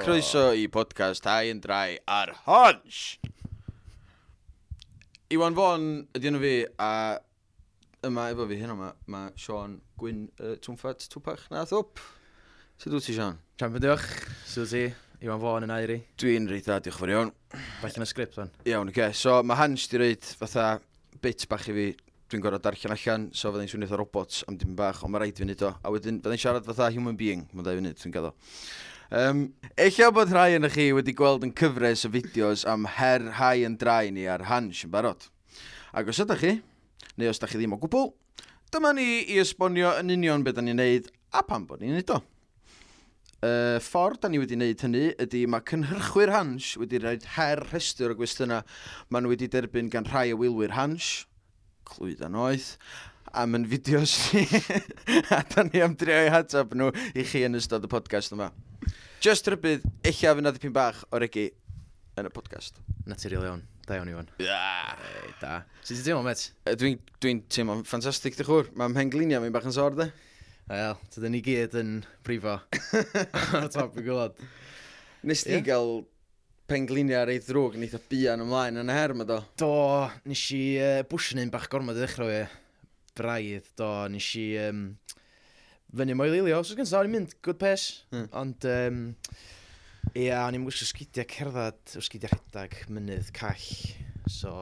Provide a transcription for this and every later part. croeso i podcast Hai yn Drai ar Hodge! Iwan Fon ydi yna fi, a yma efo fi hyn yma, mae Sean Gwyn uh, Twmffat Twpach na thwp. Sut wyt ti, Sean? Sian fyddwch, sydd ti, Iwan Fawn yn airi, Dwi'n reitha, diolch yn fawr iawn. bach yn y sgript fan. Iawn, oce. Okay. So, mae Hans di reid fatha bit bach i fi, dwi'n gorau darllen allan, so fyddai'n swnio fatha robot am dim bach, ond mae rhaid fi wneud o. A wedyn, fyddai'n siarad fatha human being, mae'n dau funud, dwi'n gaddo. Um, Ella bod rhai yn chi wedi gweld yn cyfres o fideos am her rhai yn drai ni ar Hans yn barod. Ac os ydych chi, neu os ydych chi ddim o gwbl, dyma ni i esbonio yn union beth ni'n neud a pam bod ni'n neud o. Y ffordd da ni wedi wneud hynny ydy mae cynhyrchwyr Hans wedi rhoi her rhestr o gwestiynau maen nhw wedi derbyn gan rhai o wylwyr Hans, clwyd a'n oedd, am yn fideos ni, a da ni am drio i hatab nhw i chi yn ystod y podcast yma. Just rybydd, eich af yna ddipyn bach o regi yn y podcast. Naturiol iawn, da iawn Iwan. Yeah. E, da. Sut ti'n teimlo, met? Dwi'n dwi teimlo'n ffantastig, dy chwr. Mae mhenglinia mi'n bach yn sor, de. Wel, tydyn ni gyd yn brifo. Ar top i gwlad. Nes ti Ie. yeah. gael penglinia ar ei ddrwg yn eitha bian ymlaen yn y her, mae do. Do, nes i uh, bwysyn un bach gormod i ddechrau fi. Braidd, do, nes i um, fyny mwy lilio. Os oes gyntaf, o'n i'n mynd good pace. Mm. Ond, um, ia, o'n i'n gwisgo sgidiau cerdded, o sgidiau rhedag, mynydd, call. So,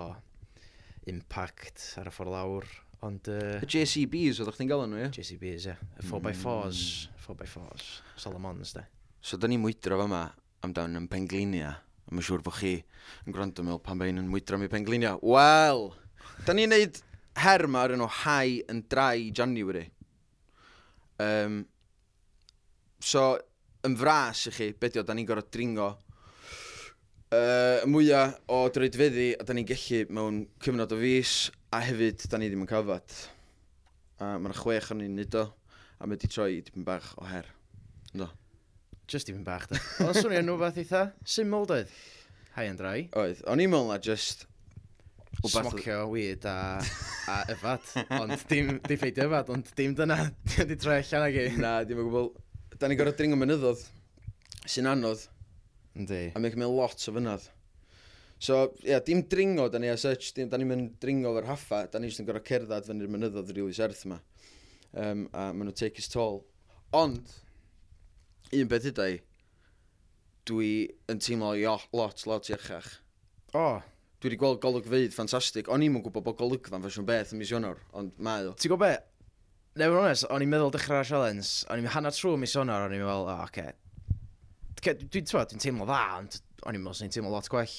impact ar y ffordd lawr. Ond, uh, Y JCBs oedd chdi'n gael nhw, ie? JCBs, ie. Y 4x4s, 4x4s, Solomons, de. So, da ni mwydro fa yma amdan yn penglinia. A Mae'n siŵr bod chi yn gwrando mewn pan bein yn mwydro mi penglinia. Wel, da ni'n neud her yma o'r enw Hai yn drai January. Um, so, yn fras i chi, bedio, da ni'n gorfod dringo uh, mwyaf o droedfeddi a da ni'n gellu mewn cyfnod o fus a hefyd da ni ddim yn cafod. A mae'n chwech o'n ni'n neud o a mae wedi troi i dipyn bach o her. Ynddo? Just even bach, de. Ond swnio nhw fath eitha, syml, doedd. Hai and dry. Oedd, o'n i'n meddwl na just... wbath- Smocio weed a, a yfad. Ond dim, dim ffeidio yfad, ond dim dyna. Di troi allan ag i. Na, dim yn gwybod. Da ni'n gorfod dringo mynyddodd, sy'n anodd, Yndi. a mae'n cymryd lot o fynydd. So, ie, yeah, dim dringo, da ni as such, dim, da ni'n mynd dringo o'r haffa, da ni jyst yn gorfod cerdded fyny'r mynyddodd rili serth yma. Um, a maen nhw'n take his toll. Ond, un beth ydy, dwi yn teimlo i o- lot, lot iachach. O, Dwi wedi gweld golygfeidd ffantastig. O'n i'm yn gwybod bod golygfa'n fashion beth ym mis Ionawr, ond mae o. ti'n gwybod be? Neu yn onest, o'n i'n meddwl dechrau'r sialens, o'n i'n hanner trwy mis onar, o'n i'n meddwl, o, oce. Dwi'n dwi, t'mod, dwi'n teimlo dda, ond o'n i'n meddwl sy'n teimlo lot gwell.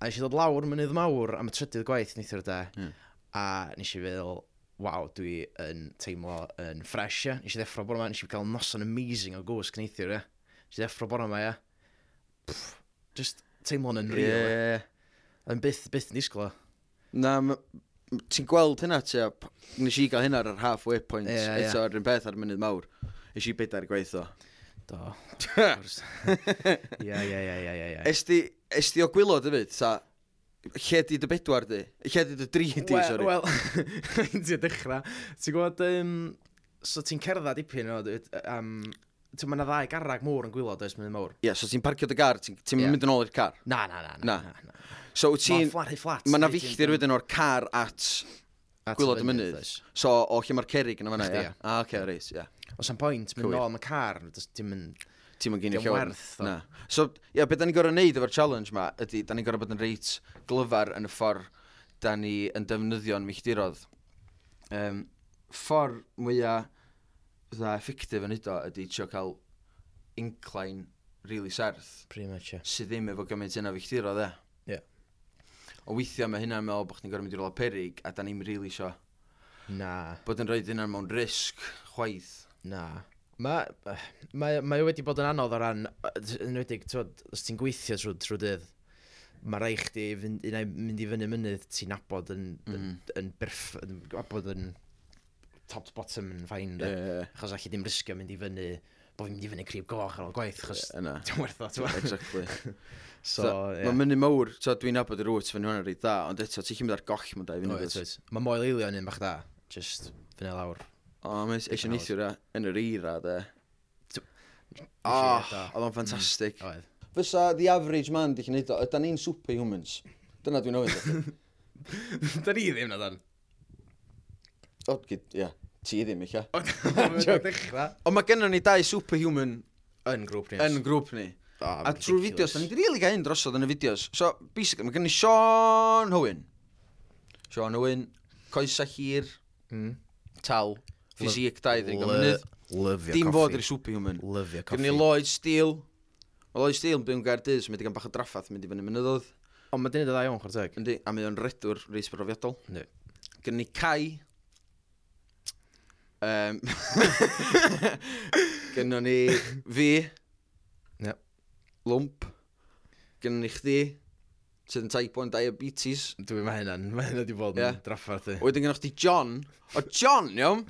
A nes i ddod lawr mynydd mawr am y trydydd gwaith neithio'r de, Ie. a nes i feddwl, waw, dwi yn teimlo yn ffres, ie. Nes i ddeffro bore yma, nes i gael noson amazing o gwsg neithio'r, ie. Nes i ddeffro bore yma, ie. Pff, Just teimlo'n yn real, ie. Ie. Yn byth, byth yn disglo. Na, m- m- ti'n gweld hynna ti a p- nes i gael hynna ar yr halfway point Ie, ie. eto ar un peth ar y mynydd mawr. Nes i bedair gwaith o. Do. Wrth gwrs. Ie, ie, ie, ie, ie, ie. Esti, esti o gwylo dyfyd, sa, lle di dy bedwar di? Lle di dy dri di, Wel- sori? Wel, ti'n dechrau. Ti'n gwybod, um, so ti'n cerdded dipyn o... Um, ti'n mynd ddau garreg môr yn gwylod oes mynd mawr. Ie, so ti'n parcio dy gar, ti'n ti Ie. mynd yn ôl i'r car. Na, na, na, Na. na. na, na. So wyt Ti'n... ti'n, Flat, rhy flat. mae na Reit, fichtir ti'n- wedyn o'r car at at gwylod y fynydd, mynydd. oes. So, o lle mae'r cerig yn yma, Chdi, ie? ie. A, oce, reis, ie. Os am pwynt, mynd Cywir. nôl am y car, does dim yn... Ti'n mynd gynnu Dio'n llawer. werth o. Na. So, ie, yeah, beth da ni'n gorau neud efo'r challenge ma, ydy, da ni'n gorau bod yn reit glyfar yn y ffordd da ni yn defnyddio'n milltirodd. Um, ffordd mwyaf dda effective yn edo ydy trio cael incline really serth, Pretty much, ie. sydd ddim efo gymaint yna filltirodd, e. Ie. O weithiau mae hynna'n meddwl bod chdi'n gorau mynd i'r lola perig, a da ni'n really sio Na, bod yn rhoi hynna'n mewn risg, chwaith. na. Mae ma, ma wedi bod yn anodd o ran, yn wedi'i, os ti'n gweithio trwy, trwy dydd, mae rai chdi fynd, un ai mynd i fyny mynydd ti'n abod yn, Mm. yn, yn berff, yn abod yn top to bottom yn fain. de. Ie, Achos allu ddim risgio mynd i fyny, bod fi'n mynd i fyny crib goch ar ôl gwaith, achos yna. ti'n werth o, ti'n werth. Exactly. So, So, yeah. Mae mynd mawr, so dwi'n nabod y rwt fan hwnna reit dda, ond eto, ti'n mynd ar goll mae'n da i fynd oes. Mae moel eilio yn un bach da, just fyny lawr. O, mae eisiau Hours. neithio ra, yn yr eira, de. T- O, Felly, da. Ah, oedd o'n ffantastig. Oedd. fysa the average man di chi'n neud o, ydan ni'n superhumans. Dyna dwi'n ofyn. Da ni ddim na dan. o, gyd, ia. Ti ddim, eich O, da dechrau. Ond mae gennym ni dau superhuman Yn grŵp ni. yn grŵp ni. Oh, A trwy fideos, da ni wedi really gael un drosodd yn y fideos. So, basically, mae gen ni Sean Hwyn. Sean Hwyn, coesa hir, Mm. tal, ffisic da iddyn ni Ly- gofynydd. Lyfio Dim fod coffi. i'r superhuman. Lyfio coffi. Gen ni Lloyd Steele. Mae Lloyd Steele yn byw yn Gaerdydd, so mae wedi gan bach o draffath mynd i fyny mynyddodd. Ond mae dyn i dda iawn, chwrteg. Yndi, a mae o'n redwr reis brofiadol. Yndi. Gen ni Kai. Um, gen ni fi. Ie. Lwmp. Gen ni chdi. Sydd yn type 1 diabetes. Dwi mae hynna'n, mae hynna wedi bod yn Ie. draffarth i. A Wedyn gennych chdi John. O John, iawn.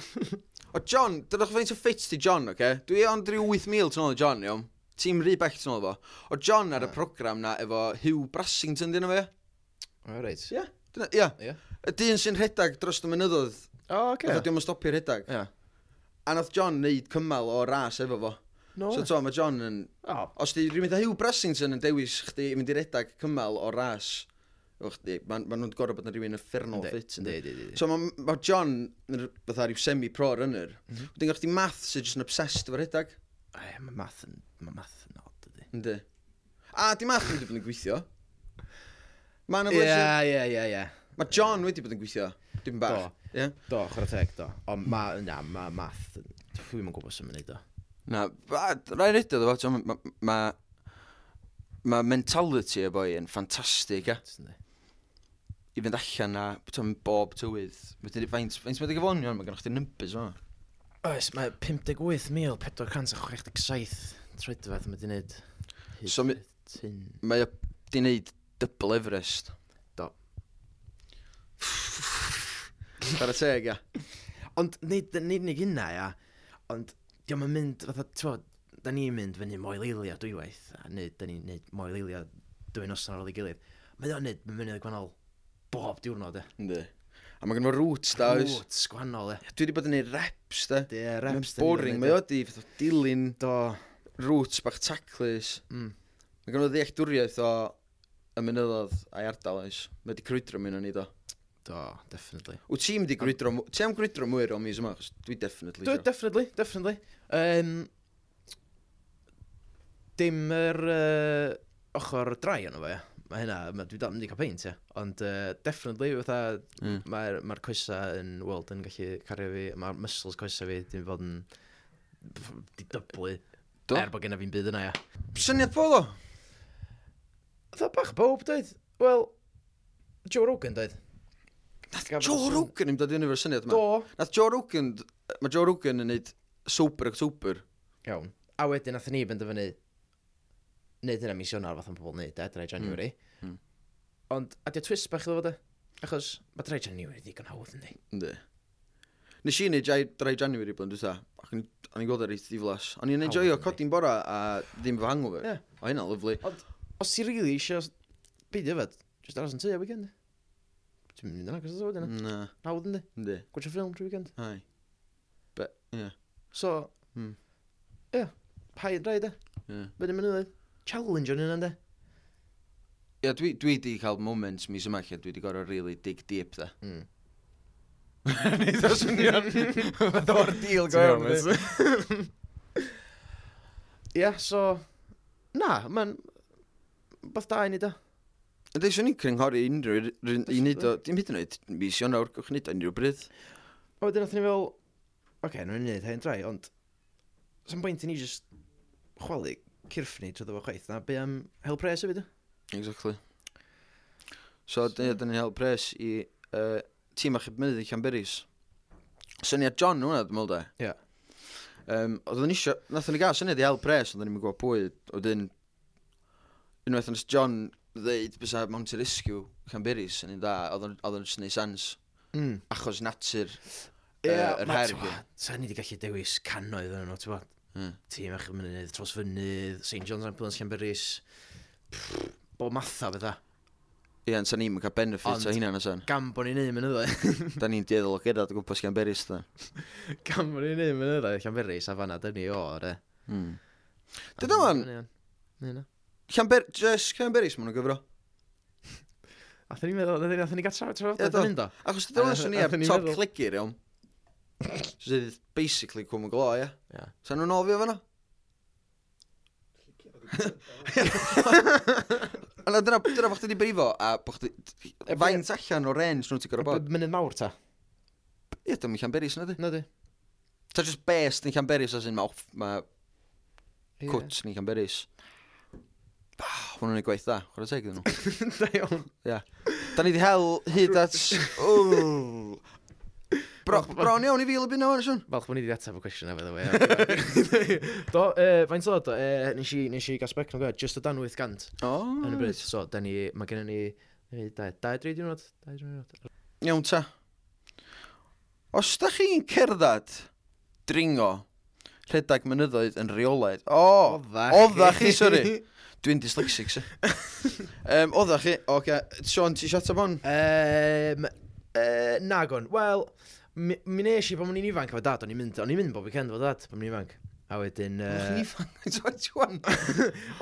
O John, dydych faint o ffit ti John, oce? Okay? Dwi ond rhyw 8,000 tyn ôl i John, iawn. Tîm rhy bell tyn ôl fo. O John ar y program na efo Hugh Brassington dyn nhw fe. O, reit. Ie. Dyna- Ie. Ie. Y dyn sy'n rhedag dros y mynyddodd. O, Yeah. oce. Oedd o'n stopio'r rhedag. Ie. A nath John neud cymal o ras efo fo. No. So to, mae John yn... O, Os di rhywun dda Hugh Brassington yn dewis chdi i mynd i redag cymal o ras, Wel, chdi, ma, ma nhw'n gorau bod yn rhywun effernol fit. yndi? Yndi, yndi, yndi. So mae ma John yn r- fatha rhyw semi-pro runner. Mm -hmm. Wedyn gallwch chi math sydd jyst yn obsessed efo redag. Ai, Mae math yn, mae math yn od ydi. Ynddi. A di math wedi bod yn gweithio. Mae Ie, yeah. ie, ie, ie. ma John wedi bod yn gweithio. Dim bach. Ie? Do, chwrteg, do. Ond mae, na, mae math, yn- dwi'n yn gwybod sy'n mynd i do. Na, ba- rai redag ddo fo, mae ma, ma mentality y boi yn ffantastig, ia. Jyst yndi. I fynd allan a t'm, bob tywydd. Wedyn, faint, faint mae'n gyflwn iawn, mae gennych chdi numbers yma. Oes, mae 58,467 troedfedd mae di wneud. Hyd So mi- Tyn. Mae o di wneud double Everest. Do. Ar y teg, ia. Ond nid, nid ni gynna, ia. Ond, diolch yn mynd, fatha, t'wo, da ni'n mynd fyny moel eilia dwywaith, a nid, da ni'n neud moel eilia dwy noson ar ôl ei gilydd. Mae o'n neud, mae'n mynd i gwannol bob diwrnod, e. Yndi. A mae gen fo roots da, oes. Rwt, gwannol, e. Dwi wedi bod yn ei reps, da. Di, e, Mae'n reps. boring, mae o di fatha dilyn Do. roots bach taclus. Mm. Mae gen fo ddealltwriaeth o y mynyddodd a'i ardal, oes. Mae wedi crwydro mewn o'n i do. Do, definitely. Wyt ti'n mynd i grwydro, mw- ti am grwydro mwy o mis yma, achos dwi definitely Do, sio. definitely, definitely. Um, dim yr uh, ochr drai yno fe. Mae hynna, ma, dwi dal yn mynd i cael peint, ie. Ond uh, definitely, fatha, Mm. mm. mae'r ma coesa yn, weld yn gallu cario fi, mae'r muscles coesa fi, dim fod yn pff, di dyblu. Do. Er bod gen i fi'n byd yna, ie. Syniad bod o? Fatha bach bob, dweud. Wel, Joe Rogan, dweud. Joe Rogan yn dod i fyny efo'r syniad yma. Do. Nath Joe Rogan, mae Joe Rogan yn neud sober October. Iawn. A wedyn nath ni benderfynu wneud yna mis Ionar fath o'n pobl wneud, e, drai January. Mm. Mm. Mm. Ond, a di o twist bach iddo fod e? Achos, mae drai January ddigon hawdd yn di. Yndi. Nes i neud jai- dry January blyn dwi'n ac o'n o'n i'n gweld ar eith ddiflas. O'n i'n Hawdd, enjoyo yndi. codi'n bora a ddim fy hangover. Ie. O hynna, lyflu. Os ti really eisiau, byd yfed, just aros yn tu a weekend. Ti'n mynd yna, cos oedd yna. Na, Hawdd yn di. yndi. Gwtio ffilm trwy weekend. Hai. Be, ie. So, ie, Mm. yeah, pai yn drai de. Ie, Bydyn mynd i Challenge o'n yna, de. Ie, dwi, dwi di cael moments mis yma lle, dwi di gorau really dig deep dda. Mm. Nid o swnio'n ddo'r deal Ti'n go iawn. honest. yndi? Ie, yeah, so, na, mae'n, beth da i ni, de. Ydy, swn i'n crynghori unrhyw un i neud o, dim hyd yn oed mis o'n awr, gwych neud o unrhyw bryd. A wedyn nath ni fel, oce, okay, nhw'n neud hyn drai, ond sa'n bwynt i ni just chwalu cyrff ni trwy ddefo chwaith, na be am hel pres hefyd, o? Exactly. So, dyna dyn ni'n help pres i uh, tîm achub mynydd i Llanberis. Syniad John hwnna, dwi'n meddwl da. Ie. Um, oedden ni isio, nathon ni gael syniad i help pres, oedden ni'n gwybod pwy, oedden, unwaith nes John ddeud bysa Mountain Rescue Llanberis yn un da, oedden oedden nhw'n gwneud sens, Mm. achos natur Ie, yy, yr ma- her. t'bo, Sa'n ni wedi gallu dewis canoedd yn nhw, ti'n bod? Mm. Tîm eich mynydd, Trosfynydd, St John's Ambulance Llanberis, pff, bob matha fydda. Ie, ond sa ni'n cael benefit Ond- o hynna na san. Gam bod ni'n neud mynydd o, Da ni'n dieddol o gyrraedd o gwmpas Llanberis da. gam bod ni'n neud mynydd o, Llanberis, a fanna, e. dyna ni o, re. Mm. Dyna ma'n, Dyna ni o. Dyna ni o. Llanber... Just Llanberis maen nhw'n gyfro. Athen ni'n meddwl, athen ni'n gael Ie, trafodaeth do. yn mynd o. Achos dyna A- uh, ni ar aethon ni'n top meddwl. clicir iawn. Sydd basically cwm yn glo, ie. Ie. Sa'n nhw'n ofio fanna? Yna dyna, dyna bo chdi di brifo, a bo chdi... E, Faint allan o range nhw'n ti gorau bod? Mynydd mawr ta. Ie, dyma Llanberis yna di. Na di. Ta just best yn Llanberis as in mae off- ma cwt yn Llanberis. Bah, hwnnw'n ei gwaith da, chwarae teg iddyn nhw. Da iawn. Da ni di hel hyd at... Ww. Bro, bron iawn i fi lybyn o'n siwn. Falch bod ni wedi ateb y cwestiwn efo ddwy. Do, yy, faint oedd o? Yy, Nes i, nes i gasbec nhw'n gwybod, just e? o dan 800 O, yn y bryd. So, da ni, mae gennym ni, yy, dau, dau, dri diwrnod, dau diwrnod. Iawn ta. Os da chi'n cerdded dringo rhedeg mynyddoedd yn reolaidd... O, odda chi, sori. Dwi'n dyslexic, se. um, odda chi, oce. Okay. Sean, ti siat am hon? Um, uh, nagon, wel, mi mi nes i pan o'n i'n ifanc efo dad, o'n i'n mynd, o'n i'n mynd bob weekend efo dad, pan o'n i'n ifanc. A wedyn... Chi'n Yy... ifanc, ti'n Sean?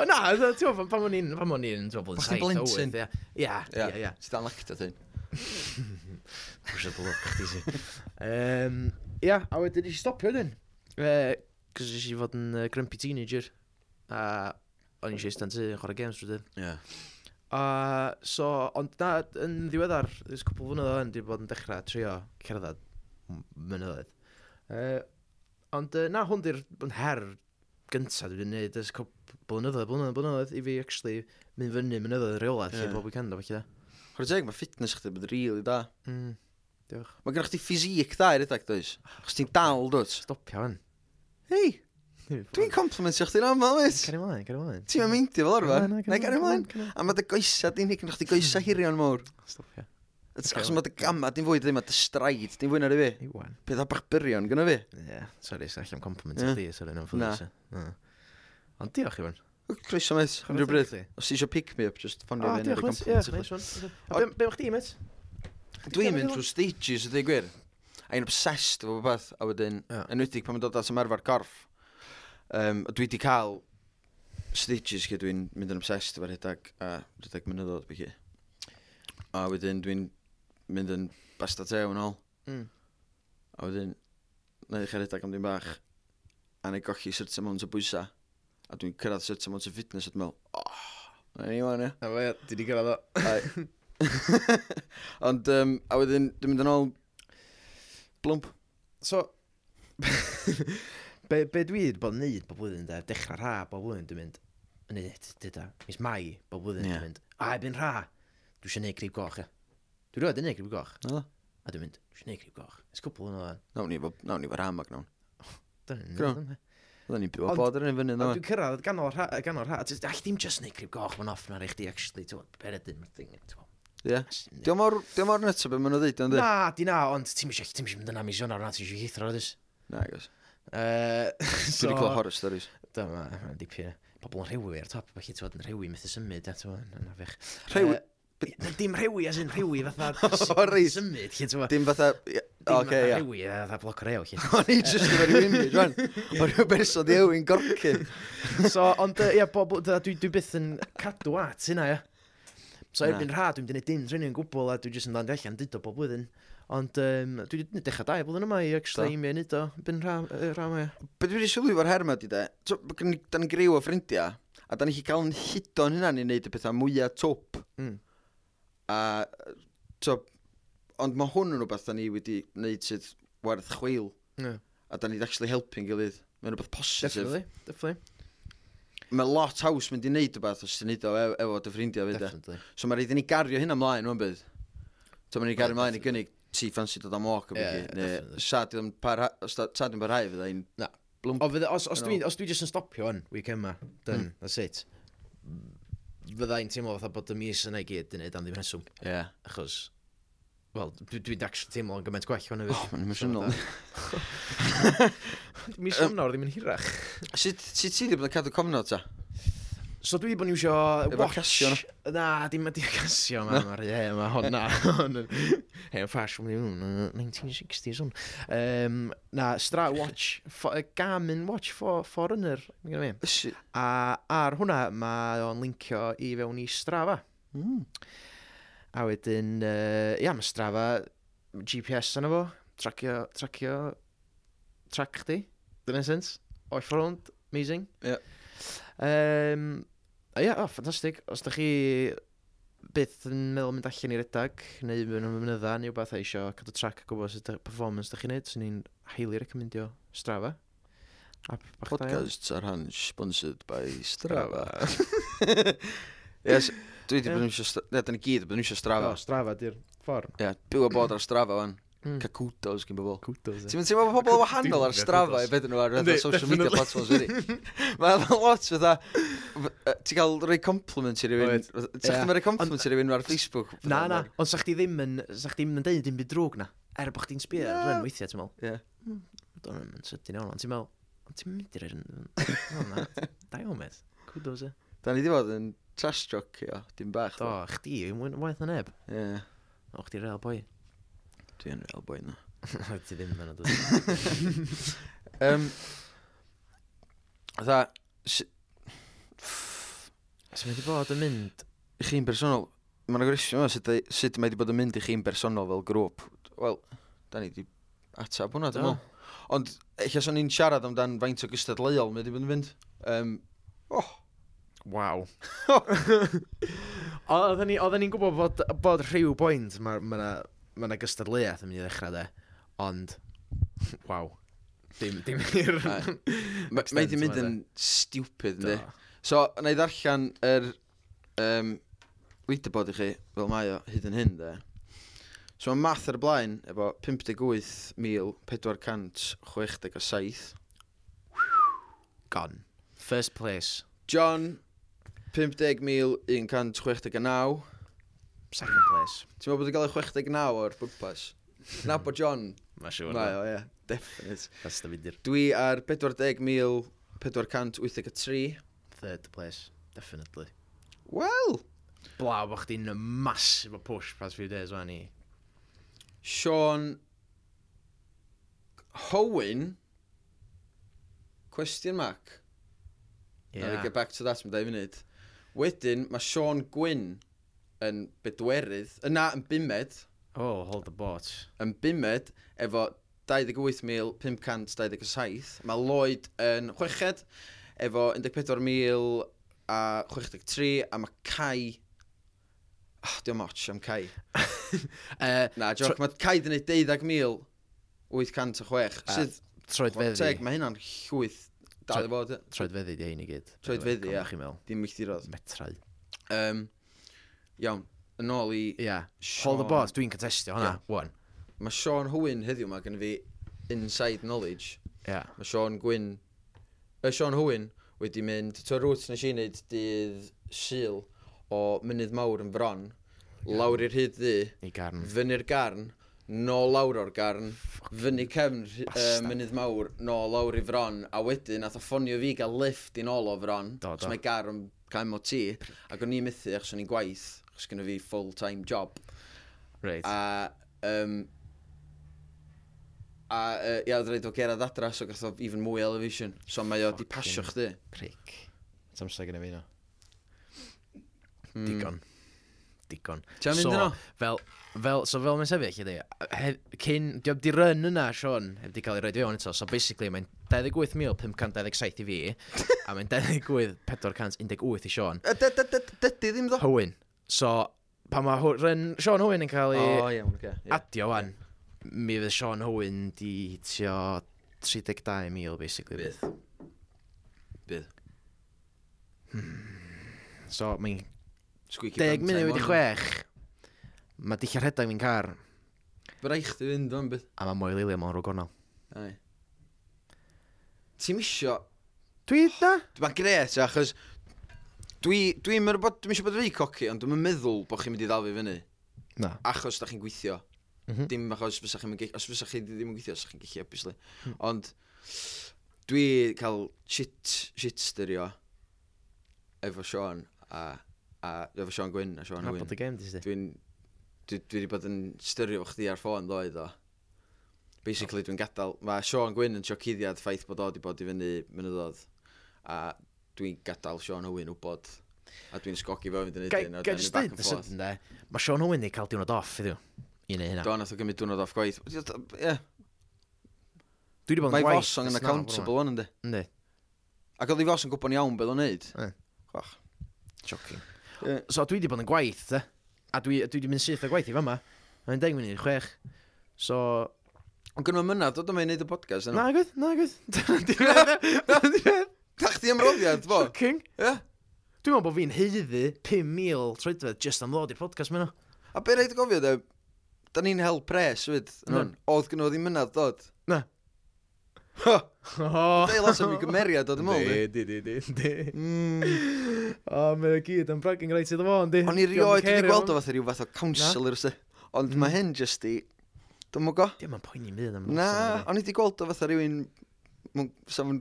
O na, ti'n gwbod, pan- pan o'n i'n, pan o'n i'n, ti'n Pan gwybod, chdi'n blentyn. Ia, ia, ia, ia. Ti'n dan lacta ti? Pwys o'r blwc, chdi si. Um, ia, a wedyn nes i stopio wedyn. Uh, Cos nes i fod yn uh, grumpy teenager. A o'n i eisiau stand yn chwarae games drwy dydd. Ie. A so, ond na, yn ddiweddar, ys cwpl fwnnw o'n di bod yn dechrau trio cerdded m- mynyddoedd. Uh, ond uh, na, hwn di'r yn her gyntaf dwi wedi gwneud ys cwpl blynyddoedd, blynyddoedd, blynyddoedd i fi actually mynd fyny mynyddoedd yn reolaidd lle Ie. bob weekend o felly da. Chwrdd teg, mae fitness chdi bod rili da. Mm, diolch. Mae gennych chdi ffisic da i rhedeg, does? Chos ti'n dal, dwt? Stopio fan. Hei, dwi'n complimentio chdi'n aml, mis. Cari ymlaen, cari ymlaen. Ti'n mynd meindio fel arfer? Na, na, Na, gan ymlaen. cari A mae dy goesa di'n hig, chdi goesa hirion mawr. Stopio. Achos mae dy gamma di'n fwy, ddim, mae dy straid di'n fwy na fi. Iwan. Peth a bach byrion, gyda fi. Ie, sori, sy'n allan compliment Ie. i chdi, sori, na'n Na. ffwrdd. Na. Ond diolch, Iwan. Croeso met, unrhyw bryd. Os ti eisiau pick me up, just ffonio O, fi. neu Ah, diolch, roi mate. Ie, compliment i chdi. neis, Iwan. A be- Be o'ch di, mate? Dwi'n mynd trwy stages ydy gwir. A i'n obsessed efo beth, a wedyn, Ie. enwedig pan mae'n dod at ymarfer corff. Um, dwi wedi cael stages lle dwi'n mynd yn obsessed efo rhedeg a rhedeg mynyddoedd bych chi. A wedyn dwi'n mynd yn basta tew yn ôl. Mm. A wedyn, na i chi rhedeg am ddim bach. A na i gochi certain amount o bwysa. A dwi'n cyrraedd certain amount o fitness at mewn. Oh, na ni wan, ia. A fe, di di gyrraedd o. Ai. Ond, um, a wedyn, dwi'n mynd yn ôl blwmp. So, be, be dwi wedi bod yn neud bob blwyddyn, de, dechrau rha bob blwyddyn, dwi'n mynd, yn neud, dyda, mis mai bob blwyddyn, Ie. dwi'n mynd, a ebyn rha, dwi eisiau neud grib goch, ia. Dwi'n rhoi, dwi'n neud grib goch, Na, a dwi'n mynd, dwi eisiau neud grib goch. Ys cwpl yn o'n. nawn ni, fo- nawn ni fod rhamag nawn. Dyna ni'n Go. neud, ynde? Oedden ni'n byw Ond- bod ar un fyny, A dda. dwi'n cyrraedd ganol rha, ganol rha, ti'n all ddim just neud crib goch ma'n off na'r eich di actually, ti'n bod, peredyn ma'r thing, ti'n bod. Ie. Diolch mor, diolch mor nuts o beth maen nhw ddeud, ynddi? Na, di na, ond ti'n mysio, ti'n mysio mynd yna mis o'n arna, ti'n mysio hithro oedys. Na, gos. Dwi Dwi wedi clywed horror stories. Dyma, mae'n dipyn. Pobl yn rhewi ar top, felly ti'n bod yn rhewi methu symud, ia, ti'n bod, yna fech. Rhewi? Yy, na, Dim rhewi, as in rhewi fatha O, reit. symud, chi, ti'n bod. Dim fatha... ie, Dim Oce, fatha ia. rhewi, yy, fatha bloc o rew, chi. O'n i just yn rhyw image, rhan. O'n rhyw berson di ewin gorcyn. So, ond, yy, ia, bob, dwi, dwi, dwi byth yn cadw at hynna, ia. So, Na. erbyn rha, dwi'n mynd i wneud dim training yn gwbl, a dwi'n jyst yn dda'n allan dyd o bob blwyddyn. Ond, um, dwi wedi dechrau dau blwyddyn yma i actually Do. i mi wneud o, byn rha, yy, rha mae. Be dwi wedi sylwi fo'r her yma, di de? So, ma' gynnon ni- Da ni'n griw o ffrindiau, a da ni'n cael yn hudon hynna ni'n neud y pethau mwyaf twp. Mm. A, so, ond mae hwn yn rhywbeth da ni wedi wneud sydd werth chweil. Ie. A da ni'n actually helpu'n gilydd. Mae'n rhywbeth positif. Definitely, definitely. Mae lot haws mynd i wneud rhywbeth os ti'n wneud o e- efo dy ffrindiau fyd. e. Definitely. So mae rhaid i ni gario hyn ymlaen o'n bydd. So mae rhaid i ni gario Ie, ymlaen i definitely. gynnig ti ffansi dod am walk o Ie, beth. definitely. Sad i'n parha- os da- sad i'n parhau fydda i'n... Na. Blwmp. O, fydde, os, os Yn Hmm. dwi, os dwi jyst yn stopio yn weekend yma, dyn, mm. that's it. Fydda i'n teimlo fatha bod y mis yna i gyd yn neud am ddim reswm, Ie. achos, wel, dwi'n dwi dwi'n actually teimlo yn gymaint gwell hwnna fydd. Oh, mae'n emosiynol. Mis yna o'r ddim yn hirach. Sut sut ti wedi bod yn cadw cofnod ta? So dwi wedi bod yn iwsio Efo watch... Casio Na, dim ydi Casio ma, ma'r ie, ma hon na. hon yn- Hen ffash, mae'n mynd, 1960s mm, hwn. Um, na, stra watch, fo- y Garmin watch for, Forerunner, yn gynnu fi. Ysy. A ar hwnna, mae o'n lincio i fewn i Strava. Mm. A wedyn, uh, ia, mae Strava GPS yna fo, tracio, tracio, trac chdi, dyna'n sens. O'i ffrwnd, amazing. Ie. Um, a ia, o, ffantastig. Os da chi byth yn meddwl mynd allan i redag, neu yn ymwynydda, neu wbeth a eisiau cadw trac a gwybod sut y performance da chi'n neud, swn i'n highly recommendio Strava. App bach da iawn. Podcasts ar han sponsored by Strava. yes, dwi wedi bod yn eisiau Strava. Ie, da ni gyd wedi bod yn eisiau Strava. O, Strava di'r ffordd. Ie, byw a bod ar Strava fan. Mm. Ca kudos gyn bobl. Cwtos. Ti'n mynd teimlo bod pobl wahanol ar Dwi'n Strava kudos. i beth nhw ar fatha Yndi, social media definitely. platforms wedi. Mae yna lot fatha, f- yy, ti'n cael rhoi compliment i rywun, Oed. ti'n cael rhoi compliment i rywun ar Facebook? fatha, Na, na, ma'r- ond sa'ch chi ddim yn, sa'ch chi ddim yn deud dim byd drwg na, er bod chdi'n sbio ar rhan weithiau, ti'n meddwl. Hmm, Ie. Do'n i'm yn sydyn iawn, ond ti'n meddwl, ond ti'n mynd i'r rhan, da iawn medd, kudos e. Da ni di fod yn trash jockey o, dim bach. Do, chdi, yw'n mwyn- waith na neb, Ie, o chdi real boi. dwi'n real boi na. Ti ddim yn oed. Um, Dda, So mae di bod yn mynd, i chi'n bersonol, mae'n agresio yma sut, da- sut mae wedi bod yn mynd i chi'n bersonol fel grŵp. Wel, da ni wedi atab hwnna, dwi'n Do. meddwl. Ond, eich os o'n i'n siarad amdan faint o gystadleuol mae wedi bod yn fynd. Um, Oh, waw. Oedden ni- oedden ni'n gwybod bod, bod rhyw boint, mae yna ma 'na gystadleuaeth yn mynd i ddechrau de, ond, waw. Dim, dim i'r... Aye. ma- mae wedi Extent mynd yma, yn stupid, ynddi. Do. So, na i ddarllen yr um, leaderboard i chi, fel mae o hyd yn hyn, de. So, mae math ar y blaen efo 58,467. Gone. First place. John, 50,169. Second place. Ti'n meddwl bod wedi cael ei 69 o'r bwgpas? Na bod John, Mae siwr. mae o, ie, definite. That's the winner. Dwi ar 40,483. Third place. Definitely. Wel, Bla, bo chdi'n massive o push past few days, fan i. Sean Howen Question mark yeah. I'll get back to that mewn dau funud Wedyn mae Sean Gwyn yn bedwerydd yna yn bumed Oh, hold the boat. yn bumed efo 28,527 mae Lloyd yn chweched efo 14,063 a mae Cai oh, diolch much am Cai Uh, Na, joc, mae Cai yn ei 12,806 A- sydd troed Teg, feddi. mae hynna'n llwyth dal i fod, ie. Troed feddi di hyn i gyd. Troed feddi, ie. Chi'n meddwl. dim eich dirodd. Metrau. Um, iawn, yn ôl i... Ia. Yeah. Sean- Hold the boat. Dwi'n contestio hwnna. One. Mae Sean Hwyn heddiw yma gen i fi inside knowledge. Ia. Mae Sean Gwyn... Uh, Sean Hwyn wedi mynd... To rwt nes i wneud dydd syl o mynydd mawr yn fron, lawr i'r hyd ddi, I garn. fyny'r garn, nôl lawr o'r garn, fyny cefn uh, bastard. mynydd mawr, nôl lawr i fron, a wedyn nath o ffonio fi gael lift i nôl o fron, Do, do. mae garn cael MOT, ac o'n i'n mythu achos o'n i'n gwaith, achos gynnu fi full-time job, Reit. a... Um, a uh, ia, oedd rhaid o gerad adra, so gath o even mwy elevation. So mae o di pasio chdi. Pric. It's amser gen i fi no. Hmm. Digon. Digon. Ti'n mynd yno? Fel, fel, so fel mae'n sefyll i di, he- cyn, diolch di run yna, Sean, heb di cael ei roed i fewn eto, so basically mae'n 28,527 i fi, a mae'n 28,418 i Sean. Y- dy- dy- dy- Dydy ddim ddo. Hywyn. So, pan mae hw- run, Sean Hywyn yn cael O, ei iawn, oce. ie. adio wan, mi fydd Sean Hywyn di tio 32,000 basically. Bydd. Bydd. Bydd. So, mae'n Squeaky 10 bum munud time wedi on. chwech, mae dillio'r rhedeg fi'n car, Fy rai chdi fynd o'n bydd. a mae mwy lilio mewn rwgonol. Ai. Ti'n misio... Dwi da? Mae'n gret, achos... Dwi... Dwi'n mynd bod... Dwi'n misio bod fi coci, ond dwi'n meddwl bod chi'n mynd i ddal fi fyny. Na. Achos da chi'n gweithio. Mhm. Dim achos fysa chi'n mynd... Os fysa chi ddim yn gweithio, os chi'n gallu, obviously. Hmm. Ond... Dwi cael shit... shitster i o. efo Sean a, a efo Sean Gwyn a Sean Na bod y Hwyn. game di si. Dwi'n dwi, dwi wedi bod yn styrio fo chdi ar ffôn ddoedd o. Basically, dwi'n gadael... Mae Sean Gwyn yn siocuddiad ffaith bod o wedi bod i fyny mynyddodd. A dwi'n gadael Sean Hwyn wybod. A dwi'n sgogi fo i fynd yn Gai ydyn. gai jyst dweud, sydyn de, mae Sean Owen ni cael diwrnod off iddiw. I neu hynna. Do, nath o gymryd diwrnod off gwaith. Ie, yeah, Dwi wedi bod mae yn gwaith. fos yn accountable o'n ynddi. Ynddi. Ac oedd i fos yn gwybod yn iawn beth o'n neud. Ie. Chwach. Shocking. Ie. So dwi wedi bod yn gwaith, de. A dwi wedi mynd syth o gwaith i fama. Mae'n deg mynd i'r chwech. So... Ond gynnu mynad, oedd o'n mynd i neud y podcast. Na gwyth, na gwyth. Da chdi ymroddiad, fo. Shocking. Ie. Dwi'n meddwl bod fi'n heiddi 5,000 troedfedd just am ddod i'r podcast mewn. A be rhaid i gofio, de, da ni'n hel pres, wyd, yn Mm. hwn. Oedd gynnu ddim mynad, dod. Na. Ha! Oh. Dei las am i gymeriad, oedd ymwyl, di. di, di, di, di. Mm. O, mae'n gyd yn bragging rights iddo fo, yndi? O'n i rioed wedi gweld o fath rhyw fath o counselor, se. Ond Mm. mae hyn jyst i... Dwi'n mwgo? Dim yn poeni mynd am Na, o'n i wedi gweld o fath rhywun... Sa'n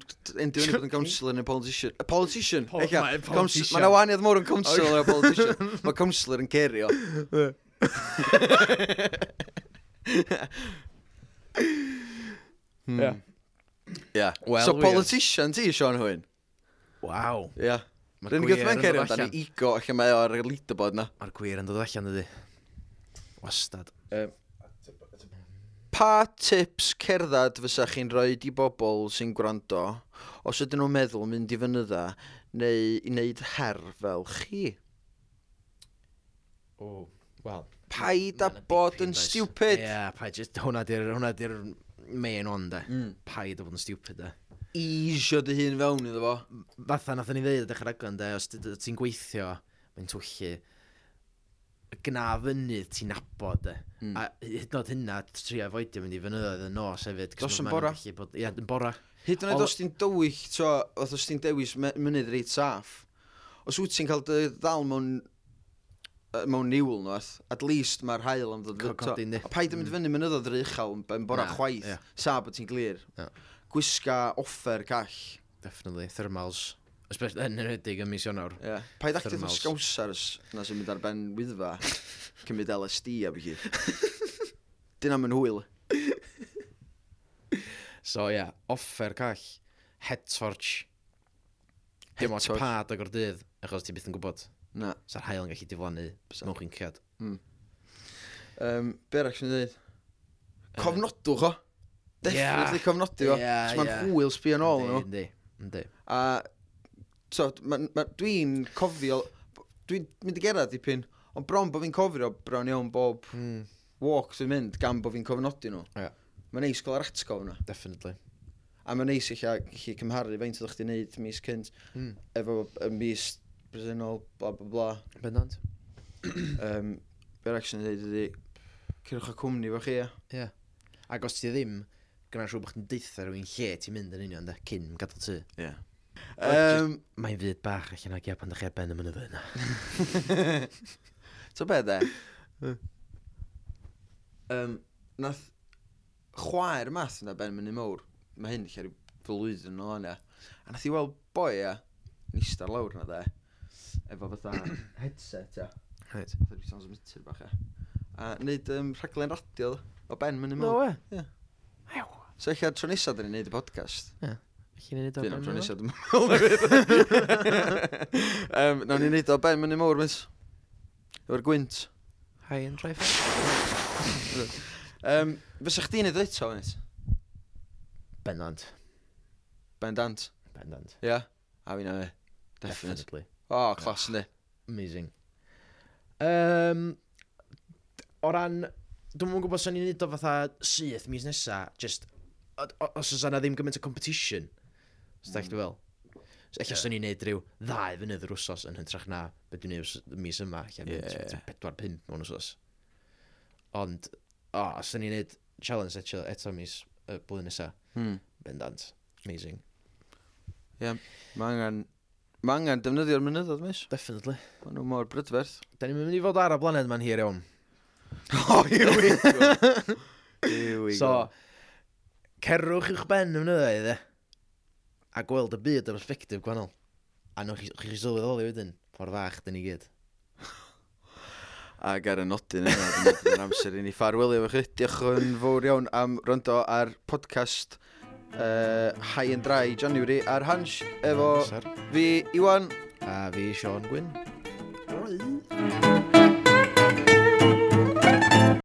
endio yn bod yn counselor neu politician. A politician, Po- eich mae politician. Mae'n awaniad mor yn counselor a politician. Mae counselor yn cerio. Ie. Mm. Yeah. Hmm. Wel, so wir. politician ti, Sean Hwyn? Waw. Ia. Rwy'n gwybod mae'n cerio amdano ego allan mae o'r leaderboard na. Mae'r gwir yn dod allan ydy. Wastad. Pa tips cerddad fysa chi'n rhoi i bobl sy'n gwrando os ydyn nhw'n meddwl mynd i fynydda neu i wneud her fel chi? O, wel. Paid a bod yn stupid. Ie, paid, jyst- hwnna di'r, hwnna di'r main on, de. Mm. Paid o bod yn stupid, de. Eisio dy hun fewn iddo fo. Fatha, nath ni ddeud ydych raglen, de, os ti- ti'n gweithio, mae'n twyllu, gna fynydd ti'n nabod, de. Mm. A hyd yn oed hynna, trio efoedio mynd i fynyddoedd yn nos hefyd. 'cos Dos ma- yn ma'n bora. gallu bod- Ie, yn bora. Hyd yn oed Ond- os ti'n dywych, so, oedd os ti'n dewis me- mynydd reit saff, os wyt ti'n cael dy ddal mewn yy, mewn niwl nhw, at least mae'r hael am ddod Co- fy- t'o, codi, yndi. A paid yn mynd fyny mynyddoedd yr uchel yn ben bora Na, chwaith, ie. sa bod ti'n glir. Ie. Gwisga offer call. Definitely, thermals. Especially yn enwedig yn mis Ionawr. Yeah. Paid actio Thermals. ddim sgawsars na sy'n mynd ar ben wyddfa, cymryd LSD a bych i. Dyna yn hwyl. So ia, yeah, offer call, head torch. Dim Head ots torch. pad ag o'r dydd, achos ti byth yn gwybod. Na. Sa'r hael yn gallu diflannu mewn chincad. Um, Berach sy'n dweud? Cofnodwch o. Definitely yeah. cofnodi o. Ie, Yeah, Mae'n ie. hwyl sbio yn ôl nhw. Yndi, yndi. A so, ma, ma, dwi'n cofio, dwi'n mynd i gerad dipyn, ond bron bod fi'n cofio bron iawn bob Mm, walk dwi'n mynd gan bod fi'n cofnodi nhw. Ie. Mae'n neis gael yr atgof yna. definitely. A mae'n neis i chi cymharu feint ydych chi'n neud mis cynt Mm. efo y mis bresennol, bla bla bla. Bendant. Um, Berach sy'n dweud ydi, cyrwch â cwmni fo chi, ia. Ie. Yeah. Ac os ti ddim, gyda'n siŵr bod chdi'n deitha rhywun lle ti'n mynd yn union, de, cyn gadael ty. Yeah. Wel, Um, Mae'n fyd bach allan ag ia pan ddech chi ar ben y mynydd yna. So be de? um, nath chwaer math yna ben mynd i mawr. Mae hyn lle rhyw flwyddyn yn ôl yna. A nath i weld boi a nista lawr yna de. Efo fatha headset a. Right. Fatha rhyw transmitter bach a. A neud um, rhaglen radio ddo, o ben mynd i mawr. we. Ie. Ew. So eich ar tro nesa dyn ni'n neud y podcast. Chi'n ei wneud o Dyn am tro ben nesa dwi'n mynd. um, Nawn ni'n neud o ben mynd i mawr, mis. Efo'r gwynt. Hi and drive. Um, Fysa chdi'n ei ddweud eto, Wynit? Bendant. Ben Dant. Bendant. Ia. Yeah. A fi'n ei. Definite. Definitely. O, oh, clas yndi. Amazing. Um, o ran, dwi'n mwyn gwybod sy'n ni'n neud o fatha syth mis nesa, just, o- o- os oes yna ddim gymaint o competition, os da eich fel. So, eich os o'n i'n neud rhyw ddau fynydd yr wsos yn hytrach na be dwi'n neud wsos- mis yma, eich Ie. yeah. bedwar pump mewn wsos. Ond, o, os o'n i'n neud challenge eto, eto mis y blwyddyn nesa, Hmm. bendant, amazing. Mae angen... Mae angen defnyddio'r mynyddoedd, mis. Definitely. Mae nhw mor brydferth. Da ni'n mynd i fod ar y blaned ma'n hir iawn. oh, here we go. Here we So, go. cerwch i'ch ben yn ymwneud e. A gweld y byd yn perspektif gwahanol. A nhw chi, chi sylweddoli wedyn, ffordd fach, dyn ni gyd. Ac ar y nodyn yna, dwi'n meddwl yn amser i ni ffarwelio efo chi. Diolch yn fawr iawn am rando ar podcast uh, High and Dry January ar Hans efo Sir. fi, Iwan. A fi, Sean Gwyn. Bye.